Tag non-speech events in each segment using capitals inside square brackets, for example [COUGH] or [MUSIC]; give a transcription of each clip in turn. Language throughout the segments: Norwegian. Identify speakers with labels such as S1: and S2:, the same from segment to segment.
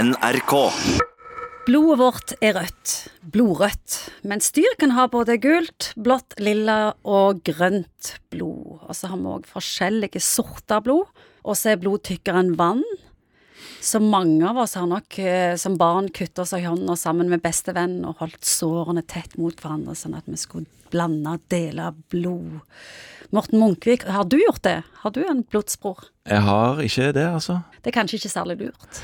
S1: NRK.
S2: Blodet vårt er rødt, blodrødt, mens dyr kan ha både gult, blått, lilla og grønt blod. Og så har vi òg forskjellige sorter blod, og så er blod tykkere enn vann. Så mange av oss har nok eh, som barn kuttet oss i hånda sammen med bestevenn og holdt sårene tett mot hverandre, sånn at vi skulle blande og dele blod. Morten Munkvik, har du gjort det? Har du en blodsbror?
S3: Jeg har ikke det, altså.
S2: Det er kanskje ikke særlig lurt.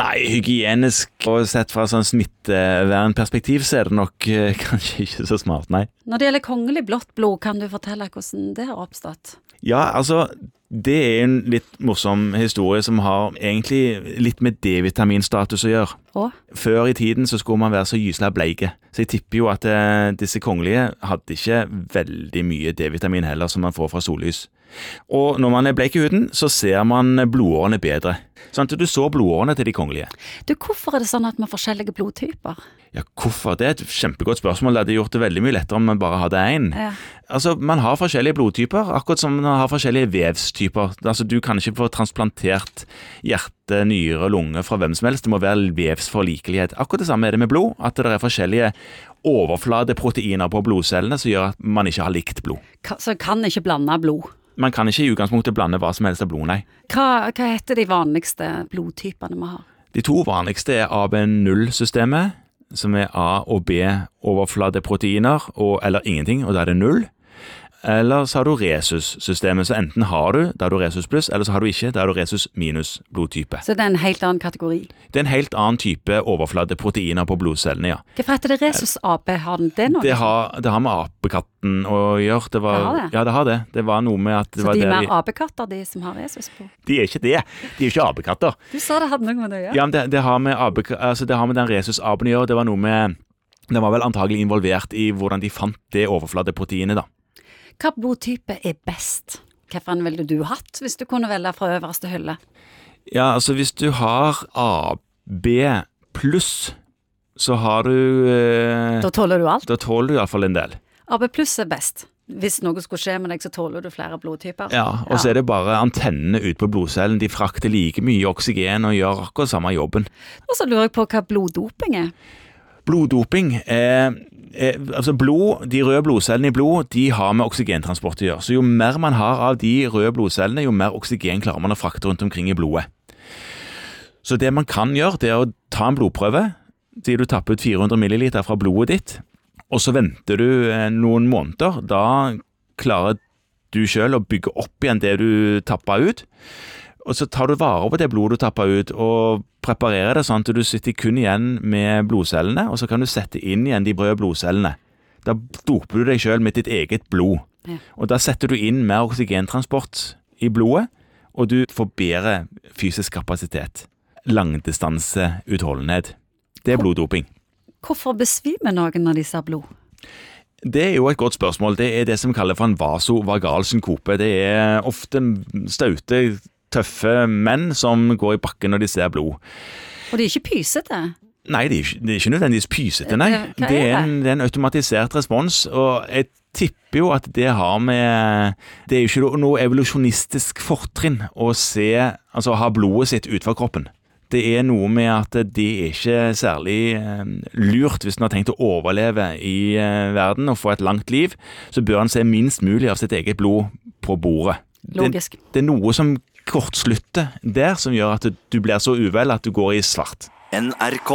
S3: Nei, hygienisk og sett fra sånn smittevernperspektiv, så er det nok eh, [LAUGHS] kanskje ikke så smart, nei.
S2: Når det gjelder kongelig blått blod, kan du fortelle hvordan det har oppstått?
S3: Ja, altså, det er en litt morsom historie som har egentlig litt med D-vitaminstatus å gjøre.
S2: Og?
S3: Før i tiden så skulle man være så gysla bleike, så jeg tipper jo at eh, disse kongelige hadde ikke veldig mye D-vitamin heller, som man får fra sollys. Og når man er bleik i huden, så ser man blodårene bedre. Sånn at du så blodårene til de kongelige.
S2: Du, hvorfor er det sånn at vi har forskjellige blodtyper?
S3: Ja, hvorfor? Det er et kjempegodt spørsmål. Det hadde gjort det veldig mye lettere om man bare hadde én.
S2: Ja.
S3: Altså, man har forskjellige blodtyper, akkurat som man har forskjellige vevstyper. Altså, du kan ikke få transplantert hjerte, nyre og lunge fra hvem som helst. Det må være vevsforlikelighet. Akkurat det samme er det med blod, at det er forskjellige overfladeproteiner på blodcellene som gjør at man ikke har likt blod.
S2: Ka, så kan ikke blande blod.
S3: Man kan ikke i utgangspunktet blande hva som helst av blod, nei.
S2: Hva, hva heter de vanligste blodtypene vi har?
S3: De to vanligste er AB0-systemet, som er A- og B-overfladeproteiner, og, eller ingenting, og da er det null. Eller så har du resus-systemet, så enten har du, da er du resus pluss, eller så har du ikke, da er du resus minus blodtype.
S2: Så det er en helt annen kategori.
S3: Det er en helt annen type overfladeproteiner på blodcellene, ja.
S2: Hvorfor heter det Resus AP? Har den det nå?
S3: Det har, det har med apekatten å gjøre. Det, var,
S2: Det har det?
S3: Ja, det har det. Det var noe med at det
S2: så
S3: var
S2: de er
S3: der
S2: mer
S3: de,
S2: apekatter, de som har Resus på?
S3: de er ikke det. De er jo ikke apekatter.
S2: Du sa det hadde noe med det å gjøre.
S3: Ja, men det, det, har med abe, altså det har med den resus-aben å gjøre. Det var noe med Den var vel antagelig involvert i hvordan de fant det overfladeproteinet, da.
S2: Hva blodtype er best? Hvilken ville du hatt hvis du kunne velge fra øverste hylle?
S3: Ja, altså hvis du har AB pluss, så har du eh,
S2: Da tåler du alt.
S3: Da tåler du iallfall en del.
S2: AB pluss er best. Hvis noe skulle skje med deg, så tåler du flere blodtyper.
S3: Ja, Og så er det bare antennene ut på blodcellen. De frakter like mye oksygen og gjør akkurat samme jobben.
S2: Og så lurer jeg på hva bloddoping er.
S3: Bloddoping er, er Altså blod, de røde blodcellene i blod De har med oksygentransport å gjøre. Så jo mer man har av de røde blodcellene, jo mer oksygen klarer man å frakte rundt omkring i blodet. Så det man kan gjøre, det er å ta en blodprøve. Si du tapper ut 400 milliliter fra blodet ditt, og så venter du eh, noen måneder. Da klarer du sjøl å bygge opp igjen det du tappa ut. Og så tar du vare på det blodet du tapper ut, og preparerer det sånn at du sitter kun igjen med blodcellene, og så kan du sette inn igjen de brøde blodcellene. Da doper du deg sjøl med ditt eget blod.
S2: Ja.
S3: Og da setter du inn mer oksygentransport i blodet, og du får bedre fysisk kapasitet. Langdistanseutholdenhet. Det er bloddoping.
S2: Hvorfor besvimer noen når de ser blod?
S3: Det er jo et godt spørsmål. Det er det som kalles for en vasovagal synkope. Det er ofte staute, tøffe menn som går i bakken når de ser blod.
S2: Og de er ikke pysete.
S3: Nei, det er ikke, det er ikke nødvendigvis pysete, nei.
S2: Eh, hva er
S3: Det er, en, det er en automatisert respons, og jeg tipper jo at det har med Det er jo ikke noe- noe evolusjonistisk fortrinn å se Altså ha blodet sitt utenfor kroppen. Det er noe med at det er ikke særlig eh, lurt hvis en har tenkt å overleve i eh, verden og få et langt liv, så bør en se minst mulig av sitt eget blod på bordet. Det,
S2: Logisk.
S3: det er noe som kortslutter der, som gjør at du blir så uvel at du går i svart.
S1: NRK.